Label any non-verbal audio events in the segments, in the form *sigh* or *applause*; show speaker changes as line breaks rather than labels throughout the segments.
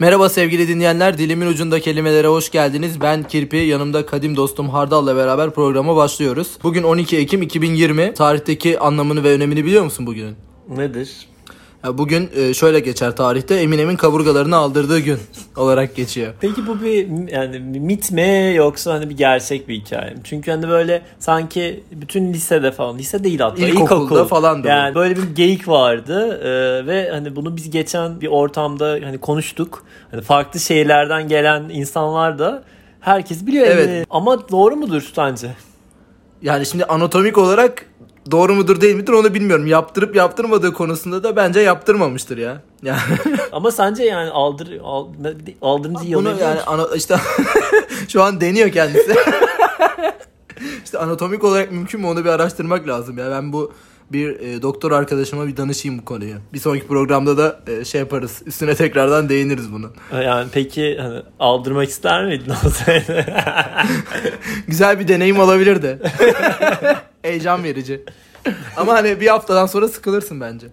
Merhaba sevgili dinleyenler, dilimin ucunda kelimelere hoş geldiniz. Ben Kirpi, yanımda kadim dostum Hardal'la beraber programa başlıyoruz. Bugün 12 Ekim 2020, tarihteki anlamını ve önemini biliyor musun bugünün?
Nedir?
Ya Bugün e, şöyle geçer tarihte, Eminem'in kaburgalarını aldırdığı gün olarak geçiyor.
Peki bu bir yani mit mi yoksa hani bir gerçek bir hikaye mi? Çünkü hani böyle sanki bütün lisede falan, lise değil hatta
İlkokulda
ilkokul.
falandı bu.
Yani böyle bir geyik vardı e, ve hani bunu biz geçen bir ortamda hani konuştuk. Hani farklı şehirlerden gelen insanlar da herkes biliyor
Evet.
Eminem. Ama doğru mudur sence? *laughs*
Yani şimdi anatomik olarak doğru mudur değil midir onu bilmiyorum. Yaptırıp yaptırmadığı konusunda da bence yaptırmamıştır ya. Yani
Ama sence yani aldır, al, aldırıncı
Bunu
yalayabiliyor
yani
musun?
ana- işte *laughs* şu an deniyor kendisi. işte anatomik olarak mümkün mü onu bir araştırmak lazım ya. Ben bu bir e, doktor arkadaşıma bir danışayım bu konuyu. Bir sonraki programda da e, şey yaparız. Üstüne tekrardan değiniriz bunu.
Yani peki hani aldırmak ister miydin *laughs* olsaydı?
Güzel bir deneyim olabilirdi. Heyecan verici. Ama hani bir haftadan sonra sıkılırsın bence.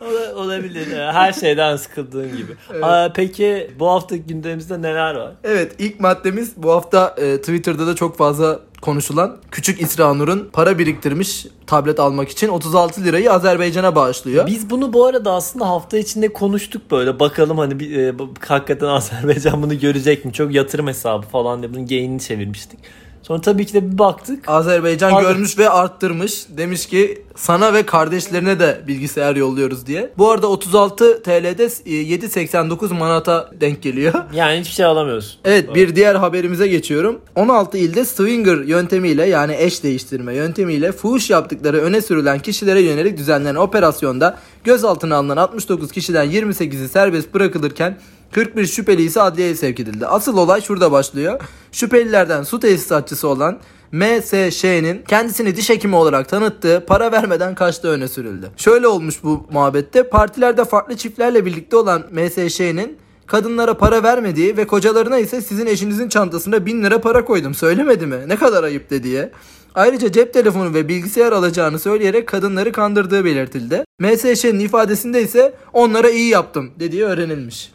Ola- Olabilir. ya. Her şeyden sıkıldığın gibi. Aa, peki bu hafta gündemimizde neler var?
Evet ilk maddemiz bu hafta e, Twitter'da da çok fazla konuşulan küçük İsra Nur'un para biriktirmiş tablet almak için 36 lirayı Azerbaycan'a bağışlıyor.
Biz bunu bu arada aslında hafta içinde konuştuk böyle. Bakalım hani bir, e, bu- hakikaten Azerbaycan bunu görecek mi? Çok yatırım hesabı falan diye bunun geyini çevirmiştik. Sonra tabii ki de bir baktık.
Azerbaycan
Pardon.
görmüş ve arttırmış. Demiş ki sana ve kardeşlerine de bilgisayar yolluyoruz diye. Bu arada 36 TL'de e, 7.89 manata denk geliyor. *laughs*
Yani hiçbir şey alamıyorsun.
Evet bir diğer haberimize geçiyorum. 16 ilde swinger yöntemiyle yani eş değiştirme yöntemiyle fuhuş yaptıkları öne sürülen kişilere yönelik düzenlenen operasyonda gözaltına alınan 69 kişiden 28'i serbest bırakılırken 41 şüpheli ise adliyeye sevk edildi. Asıl olay şurada başlıyor. Şüphelilerden su tesisatçısı olan MSŞ'nin kendisini diş hekimi olarak tanıttığı para vermeden kaçtığı öne sürüldü. Şöyle olmuş bu muhabbette partilerde farklı çiftlerle birlikte olan MSŞ'nin Kadınlara para vermediği ve kocalarına ise sizin eşinizin çantasına bin lira para koydum söylemedi mi? Ne kadar ayıp de diye. Ayrıca cep telefonu ve bilgisayar alacağını söyleyerek kadınları kandırdığı belirtildi. MSŞ'nin ifadesinde ise onlara iyi yaptım dediği öğrenilmiş.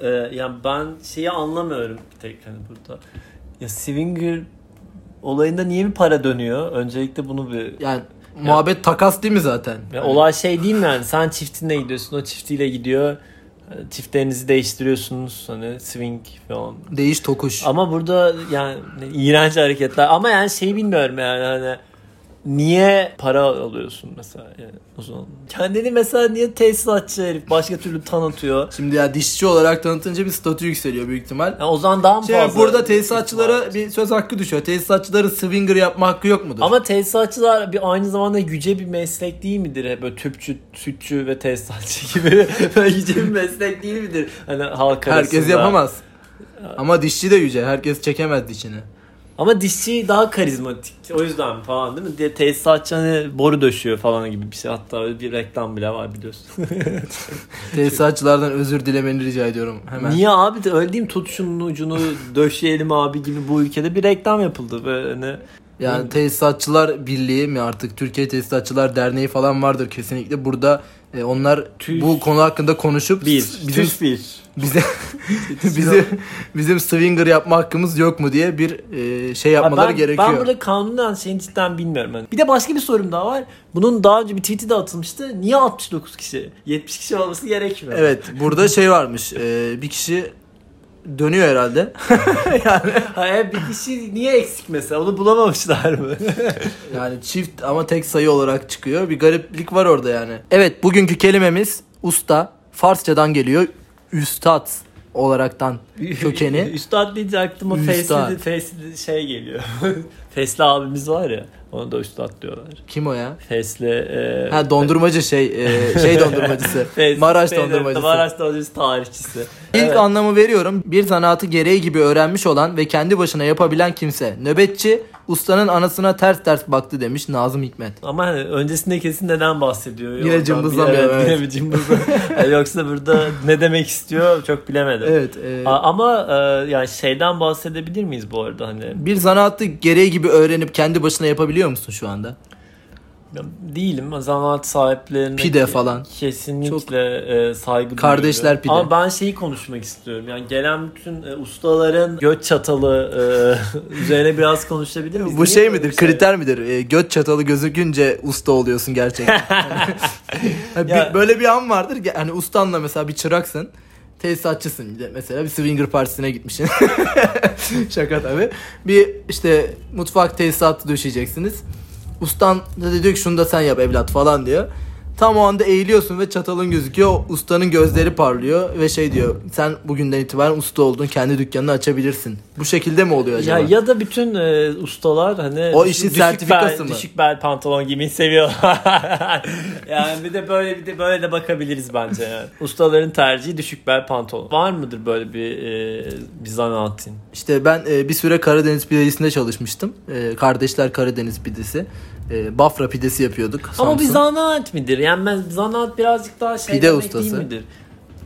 Ee, yani ben şeyi anlamıyorum bir tek hani burada. Ya Swinger olayında niye bir para dönüyor? Öncelikle bunu bir
Yani muhabbet takas değil mi zaten?
Ya olay şey değil mi yani sen çiftinle gidiyorsun o çiftiyle gidiyor Hani çiftlerinizi değiştiriyorsunuz hani swing falan.
Değiş tokuş.
Ama burada yani ne- iğrenç hareketler ama yani şey bilmiyorum yani hani niye para alıyorsun mesela yani o zaman. Kendini mesela niye tesisatçı herif başka türlü tanıtıyor.
Şimdi ya dişçi olarak tanıtınca bir statü yükseliyor büyük ihtimal.
Yani o zaman daha mı
Şey,
fazla?
burada tesisatçılara bir söz hakkı düşüyor. Tesisatçıların swinger yapma hakkı yok mudur?
Ama tesisatçılar bir aynı zamanda yüce bir meslek değil midir? Hep Böyle tüpçü, sütçü ve tesisatçı *laughs* gibi böyle yüce bir meslek değil midir? Hani halk
Herkes
arasında.
yapamaz. Ama dişçi de yüce. Herkes çekemez
*laughs*
dişini.
Ama dişçi daha karizmatik. O yüzden falan değil mi? Diye tesisatçı hani boru döşüyor falan gibi bir şey. Hatta öyle bir reklam bile var biliyorsun.
Tesisatçılardan özür dilemeni rica ediyorum hemen.
Niye abi de öyle değil mi? Tut şunun ucunu döşeyelim abi gibi bu ülkede bir reklam yapıldı. Böyle hani
Yani Tesisatçılar Birliği mi artık Türkiye Tesisatçılar Derneği falan vardır kesinlikle. Burada e, onlar
Tüş.
bu konu hakkında konuşup
bir,
s- bizim
tüs bir.
bize bizim bizim swinger yapma hakkımız yok mu diye bir e, şey
Ya
yapmaları
ben,
gerekiyor.
Ben burada kanunen şeyin cidden bilmiyorum. Hani Bir de başka bir sorum daha var. Bunun daha önce bir tweet'i de atılmıştı. Niye 69 kişi? 70 kişi olması gerekmiyor. *laughs*
Evet, burada şey varmış. e, bir kişi dönüyor herhalde.
Hayır bir kişi niye eksik mesela? Onu bulamamışlar mı?
Yani çift ama tek sayı olarak çıkıyor. Bir gariplik var orada yani. Evet bugünkü kelimemiz usta. Farsçadan geliyor. Üstad olaraktan *laughs* kökeni.
Üstad deyince aklıma
Üstad.
Fesli, Fesli şey geliyor. *laughs* Fesli abimiz var ya. Ona da Üstad diyorlar.
Kim o ya?
Fesli... E,
Ha dondurmacı şey e, şey dondurmacısı.
Fesli-
Maraş
Fesli-
dondurmacısı.
Maraş dondurmacısı tarihçisi.
İlk
Evet.
anlamı veriyorum. Bir zanaatı gereği gibi öğrenmiş olan ve kendi başına yapabilen kimse. Nöbetçi ustanın anasına ters ters baktı demiş Nazım Hikmet.
Ama hani öncesinde kesin neden bahsediyor?
Yine
Oradan
cımbızlamıyor,
bir-
evet.
Yine *laughs* bir cımbızlamıyor. Yani Yoksa burada ne demek istiyor çok bilemedim.
Evet. e,
A- Ama e, yani şeyden bahsedebilir miyiz bu arada hani?
bir zanaatı gereği gibi öğrenip kendi başına yapabiliyor musun şu anda?
Değilim. Zanaat sahiplerine
Pide falan.
kesinlikle e, saygı
Kardeşler
duyuyorum.
pide.
Ama ben şeyi konuşmak istiyorum. Yani gelen bütün e, ustaların göt çatalı e, *laughs* üzerine biraz konuşabilir miyiz?
Bu
Niye
şey
böyle
midir?
bir şey-
Kriter midir? Ee, göt çatalı gözükünce usta oluyorsun
*laughs*
gerçekten. *laughs* Hani bir-
Ya-
böyle bir an vardır ki hani ustanla mesela bir çıraksın. Tesisatçısın Bir de mesela bir swinger partisine gitmişsin. *laughs* Şaka tabii. Bir işte mutfak tesisatı döşeyeceksiniz. Ustan da diyor ki şunu da sen yap evlat falan diyor. Tam o anda eğiliyorsun ve çatalın gözüküyor. Ustanın gözleri parlıyor ve şey diyor. Sen bugünden itibaren usta oldun. Kendi dükkanını açabilirsin. Bu şekilde mi oluyor acaba?
Ya, ya da bütün e, ustalar hani
O
düşük-
işin
düşük bel-
sertifikası mı?
Düşük bel pantolon giymeyi seviyor. *laughs* yani bir de böyle bir de böyle de bakabiliriz
*laughs*
bence yani. Ustaların tercihi düşük bel pantolon. Var mıdır böyle bir e, bir zanaatin?
İşte ben e, bir süre Karadeniz pidesinde çalışmıştım. E, Kardeşler Karadeniz pidesi. E, Bafra pidesi yapıyorduk.
Ama bir
Samsun.
zanaat midir? Yani ben zanaat birazcık daha şey
Pide
demek
ustası.
değil midir?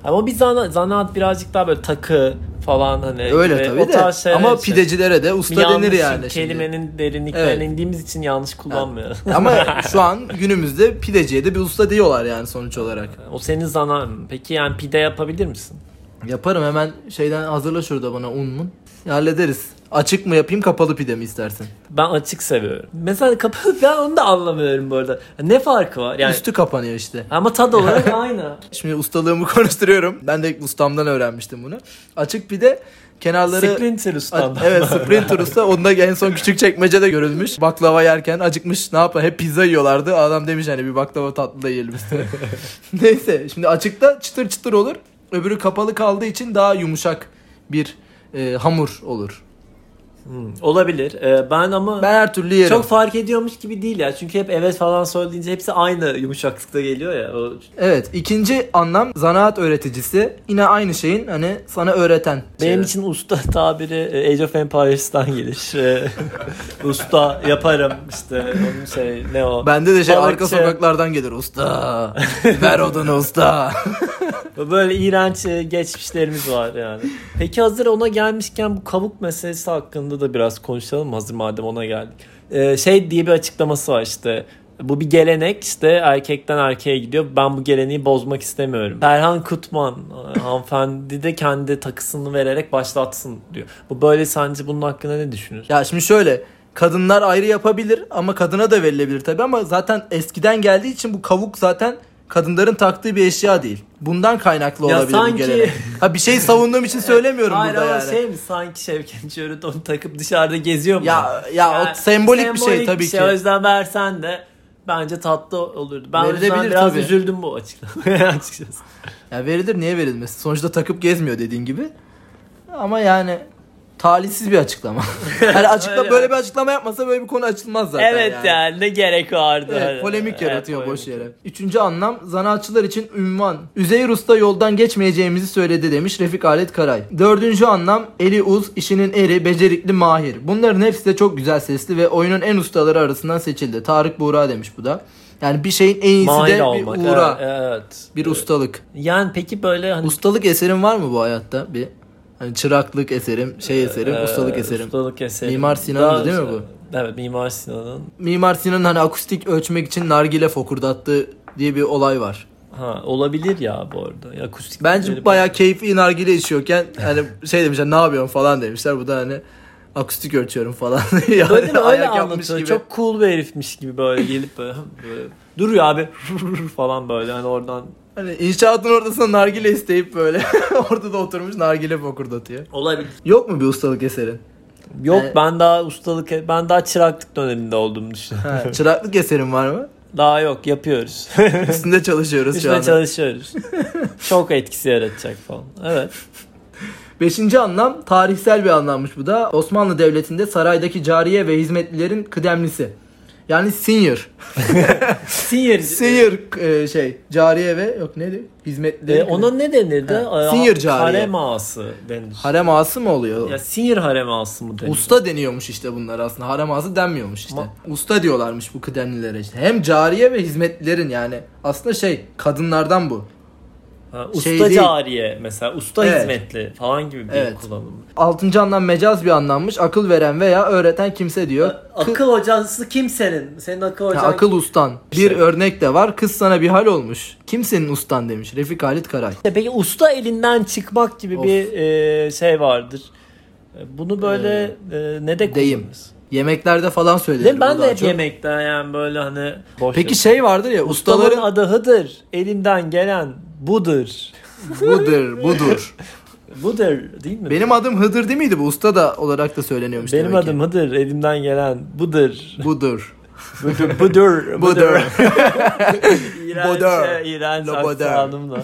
Ama bir zanaat, zanaat birazcık daha böyle takı falan hani
Öyle
ve
tabii de.
şeyler
Ama
için.
pidecilere de
Bir
usta
yanlış
denir yani. şimdi.
Kelimenin derinliklerine
Evet.
indiğimiz için yanlış kullanmıyorum.
*laughs*
*laughs*
Ama şu an günümüzde pideciye de bir usta diyorlar yani sonuç olarak.
O senin zanağın. Peki yani pide yapabilir misin?
Yaparım hemen şeyden hazırla şurada bana un mu? Hallederiz. Açık mı yapayım kapalı pide mi istersin?
Ben açık seviyorum. Mesela kapalı *laughs* ben onu da anlamıyorum bu arada. Ne farkı var? Yani
Üstü kapanıyor işte.
ama tad *laughs* olarak aynı.
Şimdi ustalığımı *laughs* konuşturuyorum. Ben de ustamdan öğrenmiştim bunu. Açık pide kenarları...
Splinter ustam.
A- Evet Sprinter usta. Onda en son küçük çekmecede görülmüş. Baklava yerken acıkmış. Ne yapar? Hep pizza yiyorlardı. Adam demiş hani bir baklava tatlı da yiyelim üstüne.
*laughs*
Neyse şimdi açıkta çıtır çıtır olur. Öbürü kapalı kaldığı için daha yumuşak bir e, hamur olur.
Hmm, *laughs* olabilir. Ee, ben ama
Ben her türlü yerim.
çok fark ediyormuş gibi değil ya. Çünkü hep evet falan söyleyince hepsi aynı yumuşaklıkta geliyor ya. O...
Evet ikinci anlam zanaat öğreticisi. Yine aynı şeyin hani sana öğreten.
Benim
şeyler.
için usta *laughs* tabiri e, Age of Empires'tan gelir. Ee, *laughs* usta yaparım işte onun şey ne o.
Bende de şey arka
Balıkçı.
sokaklardan gelir usta. Ver odunu
*laughs*
usta.
Böyle iğrenç e, geçmişlerimiz var yani. Peki hazır ona gelmişken bu kabuk meselesi hakkında da biraz konuşalım hazır madem ona geldik. Ee, şey diye bir açıklaması var işte. Bu bir gelenek işte erkekten erkeğe gidiyor. Ben bu geleneği bozmak istemiyorum. Ferhan Kutman e, hanımefendi de kendi takısını vererek başlatsın diyor. Bu böyle sence bunun hakkında ne düşünüyorsun?
Ya şimdi şöyle kadınlar ayrı yapabilir ama kadına da verilebilir tabii ama zaten eskiden geldiği için bu kavuk zaten kadınların taktığı bir eşya değil. Bundan kaynaklı
Ya
olabilir bu
sanki-
gelenek. Ha bir şey savunduğum için söylemiyorum
Hayır
burada
ama
yani.
şey mi sanki Şevket Çörüt onu takıp dışarıda geziyor mu?
Ya ya
Yani
o sembolik, bir şey tabii ki.
O yüzden versen de bence tatlı olurdu. Ben o yüzden
Verilebilir
biraz
tabii.
üzüldüm
*laughs*
bu açıklamaya açıkçası.
Ya verilir niye verilmez? Sonuçta takıp gezmiyor dediğin gibi. Ama yani talihsiz bir
*laughs*
açıklama. yani açıkla
Öyle.
böyle bir açıklama yapmasa böyle bir konu açılmaz zaten
evet yani. ne gerek vardı.
Evet,
Hani.
Ee, polemik
Evet,
yaratıyor
polemik.
boş yere. Üçüncü anlam zanaatçılar için ünvan. Üzeyir Usta yoldan geçmeyeceğimizi söyledi demiş Refik Alet Karay. Dördüncü anlam eli uz, işinin eri, becerikli mahir. Bunların hepsi de çok güzel sesli ve oyunun en ustaları arasından seçildi. Tarık Buğra demiş bu da. Yani bir şeyin en iyisi
Mahir
de
olmak.
bir uğra,
Evet. evet.
bir ustalık.
Yani peki böyle hani
Ustalık eserin var mı bu hayatta? Bir hani çıraklık eserim, şey eserim,
Ee,
ustalık eserim.
Ustalık eserim.
Mimar Sinan'dı
Daha-
değil mi bu?
Evet Mimar Sinan'ın.
Mimar Sinan'ın hani akustik ölçmek için nargile fokurdattığı diye bir olay var.
Ha, olabilir ya bu arada. Ya, akustik
Bence bayağı keyifli nargile içiyorken hani şey demişler ne yapıyorsun falan demişler. Bu da hani akustik ölçüyorum falan. *laughs* yani
Böyle mi? öyle
ayak yapmış
anlatıyor.
gibi.
Çok cool bir herifmiş gibi böyle gelip böyle, *laughs* böyle duruyor abi *laughs* falan böyle hani oradan
Hani inşaatın ortasında nargile isteyip böyle *laughs* orada da oturmuş nargile fokurdatıyor.
olabilir.
Yok mu bir ustalık eserin?
Yok
Ee,
ben daha ustalık ben daha çıraklık döneminde olduğumu düşünüyorum.
Ha, *laughs* çıraklık eserin var mı?
Daha yok yapıyoruz.
Üstünde çalışıyoruz şu
Üstüne
anda.
çalışıyoruz. Çok etkisi yaratacak falan. Evet.
Beşinci anlam tarihsel bir anlammış bu da. Osmanlı Devleti'nde saraydaki cariye ve hizmetlilerin kıdemlisi. Yani senior. *laughs*
Senior.
Senior e, şey cariye ve yok neydi? Hizmetlilerin
Ee, ona ne denirdi?
Ha,
Ee,
senior cariye.
Harem ağası denir.
Harem ağası mı oluyor?
ya senior harem ağası mı denir?
Usta deniyormuş işte bunlar aslında. Harem ağası denmiyormuş işte. Usta diyorlarmış bu kıdemlilere işte. Hem cariye ve hizmetlilerin yani. Aslında şey kadınlardan bu.
Ha,
Şey
usta
değil.
cariye mesela usta
Evet.
hizmetli falan gibi bir
Evet.
kullanım.
Altıncı anlam mecaz bir anlammış. Akıl veren veya öğreten kimse diyor. Kı-
Akıl hocası kim senin? Senin akıl
Ha,
hocan
akıl ustan. Bir
İşte.
örnek de var. Kız sana bir hal olmuş. Kimsenin ustan demiş. Refik Halit Karay.
Ya Peki usta elinden çıkmak gibi
Of.
bir e, şey vardır. E, Bunu böyle e, ne de
Ee, deyim.
kullanırız?
Yemeklerde falan söylenir.
Ne
bu
ben
daha
de hep
çok.
yemekte yani böyle hani boş
Peki
yapıyorum.
şey vardır ya
ustamın
ustaların
adahıdır. Elimden gelen budur.
budur
*laughs*
budur.
Budur değil mi?
Benim adım Hıdır değil miydi bu? Usta da olarak da söyleniyormuş
Benim
demek ki.
adım Hıdır. Elimden gelen budur.
budur.
Budur.
*laughs*
Budur.
Budur.
*laughs* İğrenç, e,
Budur.
iğrenç
La budur. *laughs*
aksanımla.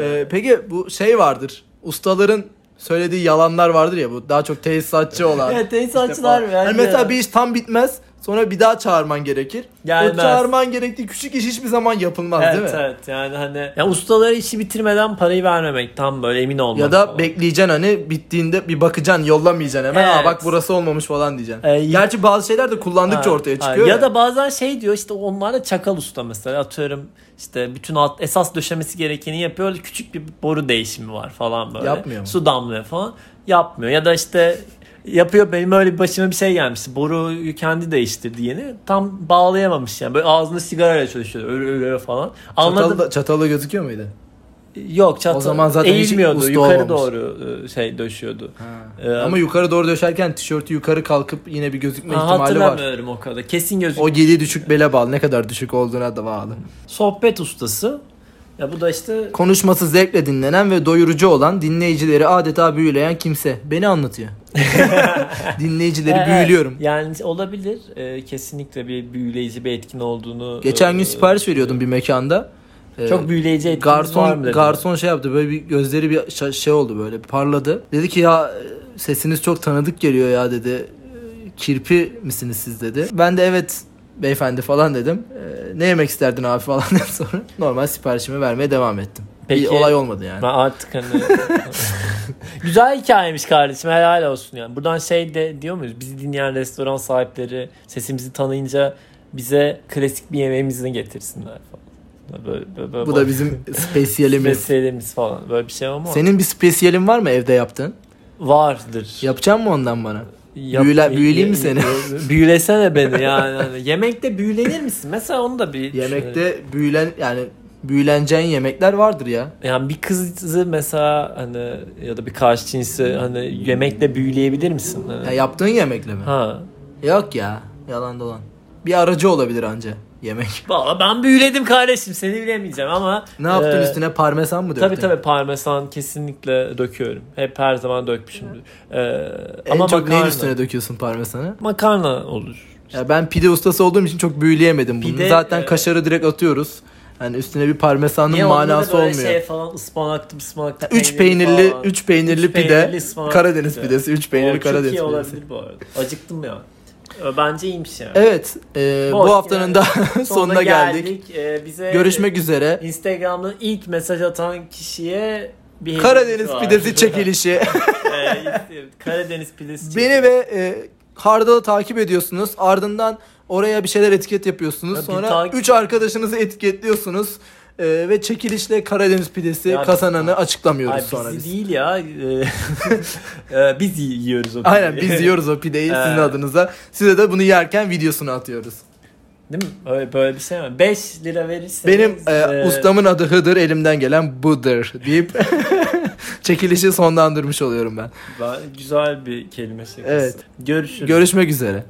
Ee, peki bu şey vardır. Ustaların söylediği yalanlar vardır ya bu daha çok tesisatçı olan.
Evet
falan.
tesisatçılar bence.
Hani mesela bir iş tam bitmez. Sonra bir daha çağırman gerekir. O
Gelmez.
çağırman gerektiği küçük iş hiçbir zaman yapılmaz
evet,
değil mi?
Evet yani hani ya ustalara işi bitirmeden parayı vermemek tam böyle emin olmak.
Ya da
falan.
bekleyeceksin hani bittiğinde bir bakacaksın yollamayacaksın hemen. Aa
Evet.
bak burası olmamış falan diyeceksin.
Ee,
Gerçi bazı şeyler de kullandıkça
Ha,
ortaya
ha.
çıkıyor.
Ya da bazen şey diyor işte onlar da çakal usta mesela atıyorum işte bütün alt, esas döşemesi gerekeni yapıyor. Küçük bir boru değişimi var falan böyle.
Yapmıyor mu?
Su damlıyor falan. Yapmıyor ya da işte yapıyor benim öyle başıma bir şey gelmişti. Boruyu kendi değiştirdi yeni. Tam bağlayamamış yani. Böyle ağzında sigarayla çalışıyor. Öyle öyle falan. Anladım.
Çatalı, da- çatalı gözüküyor muydu?
Yok çatal.
O zaman zaten hiç
eğilmiyordu.
usta
yukarı
olmamış.
doğru e, şey döşüyordu. Ee,
Ama yukarı doğru döşerken tişörtü yukarı kalkıp yine bir gözükme
ha,
ihtimali var.
hatırlamıyorum o kadar. Kesin gözüküyor.
O giydiği düşük bele bağlı. Ne kadar düşük olduğuna da bağlı.
Sohbet ustası. Ya bu da işte
Konuşması zevkle dinlenen ve doyurucu olan dinleyicileri adeta büyüleyen kimse. Beni
*laughs*
anlatıyor. Dinleyicileri
Evet,
büyülüyorum.
Yani olabilir. Ee, kesinlikle bir büyüleyici bir etkin olduğunu.
Geçen gün
e,
sipariş veriyordum bir mekanda. Ee,
Çok büyüleyici etkin var mı
garson
dedi.
garson şey yaptı böyle bir gözleri bir şa- şey oldu böyle bir parladı. Dedi ki ya e, sesiniz çok tanıdık geliyor ya dedi. "E, Kirpi misiniz siz dedi. Ben de evet beyefendi falan dedim. "E, ne yemek isterdin abi *laughs* falan dedim sonra. Normal siparişimi vermeye devam ettim. bir
Peki-
olay olmadı yani.
Ben artık hani *laughs* güzel hikayemiş kardeşim helal olsun yani. Buradan şey de diyor muyuz? Bizi dinleyen restoran sahipleri sesimizi tanıyınca bize klasik bir yemeğimizi getirsinler falan. Böyle, böyle, böyle
Bu da bizim
*laughs*
spesiyelimiz.
meselemiz falan. Böyle bir şey ama
Senin bir spesiyelin var mı evde yaptığın?
vardır.
Yapacak mı ondan bana?
Yap-
Büyüle- büyüleyeyim mi seni?
Büyülesene beni yani. Hani Yemekte büyülenir misin? Mesela onu
*laughs*
da bir düşünelim.
Yemekte büyülen yani büyüleneceğin yemekler vardır ya.
yani bir kızı mesela hani ya da bir karşı cinsi hani yemekle büyüleyebilir misin? Hani-
Ya yaptığın yemekle mi?
Ha.
Yok ya. Yalan dolan. Bir aracı olabilir anca yemek. *laughs*
Valla ben büyüledim kardeşim seni bilemeyeceğim ama
Ne yaptın
e,
üstüne parmesan mı döktün?
Tabii tabii parmesan kesinlikle döküyorum. Hep her zaman dökmüşümdür. E,
En
ama
çok
makarna.
neyin üstüne döküyorsun parmesanı?
Makarna olur.
Ya ben pide ustası olduğum için çok büyüleyemedim bunu.
Pide,
Zaten
e,
kaşarı direkt atıyoruz. Yani üstüne bir parmesanın
Niye onda da
manası
böyle
olmuyor.
Şey falan ıspanaklı ıspanaklı.
3 peynirli,
falan.
3 peynirli
Üç
pide,
peynirli ıspanaklı
Karadeniz
pide.
pidesi, 3
O
peynirli
çok
Karadeniz
iyi
pidesi.
olabilir bu arada. Acıktım ya. Ö, Bence iyiymiş yani.
Evet, e,
Boş
bu haftanın
yani.
da *laughs* sonuna geldik.
Ee, bize
Görüşmek üzere.
Instagram'dan ilk mesaj atan kişiye bir hediyemiz
Karadeniz
var.
pidesi
*laughs*
çekilişi.
Ee, işte Karadeniz pidesi çekilişi.
Beni ve e, Hardal'ı takip ediyorsunuz. Ardından oraya bir şeyler etiket yapıyorsunuz.
Ya bir
Sonra
takip-
3 arkadaşınızı etiketliyorsunuz. E, ve çekilişle Karadeniz pidesi
Ya bir-
kazananı açıklamıyoruz
Ay,
sonra
bizi
biz.
değil ya. Ee, *laughs* e, biz yiyoruz o pideyi.
Aynen
*laughs*
biz yiyoruz o pideyi sizin
Ee.
adınıza. Size de bunu yerken videosunu atıyoruz.
Değil mi? Öyle, böyle bir şey mi? 5 lira verirseniz.
Benim e,
ee,
ustamın adı Hıdır, elimden gelen budur
*laughs*
deyip *laughs* çekilişi sonlandırmış oluyorum ben.
ben- Güzel bir kelime şakası.
Evet.
Görüşürüz.
Görüşmek üzere.